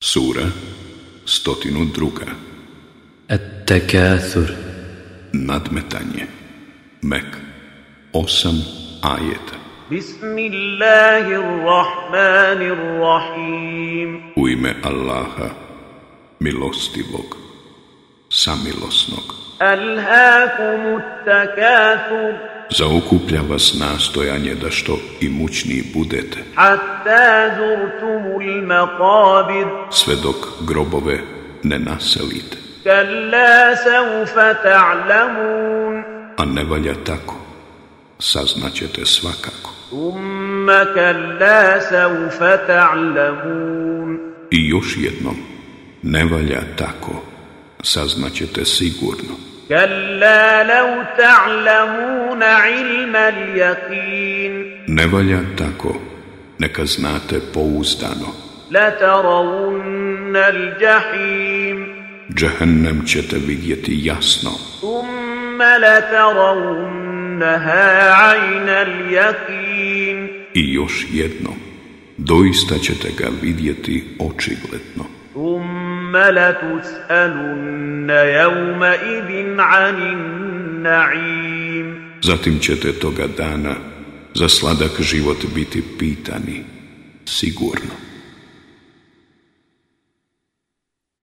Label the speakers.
Speaker 1: Sura 102.
Speaker 2: التكاثر
Speaker 1: Nadmetanje Mek 8 ajeta
Speaker 3: بسم الله الرحمن الرحيم
Speaker 1: U ime Allaha Milostivog Samilosnog
Speaker 3: ألهاكم التكاثر
Speaker 1: Zaokuplja vas nastojanje da što imućniji budete
Speaker 3: حتى زرتم المقابر
Speaker 1: Sve dok grobove ne naselite
Speaker 3: كلا سوف تعلمون
Speaker 1: A ne valja tako Saznaćete svakako
Speaker 3: ثم كلا سوف تعلمون
Speaker 1: I još jednom Ne valja tako Saznaćete sigurno
Speaker 3: كلا لو تعلمون علم اليقين
Speaker 1: Ne valja tako, neka znate pouzdano.
Speaker 3: لترون الجحيم
Speaker 1: Džehennem ćete vidjeti jasno,
Speaker 3: ثم لترونها عين اليقين
Speaker 1: i još jedno, doista ćete ga vidjeti očigledno.
Speaker 3: ثم لتسألن يومئذ عن النعيم
Speaker 1: Zatim ćete toga dana za sladak život biti pitani, sigurno.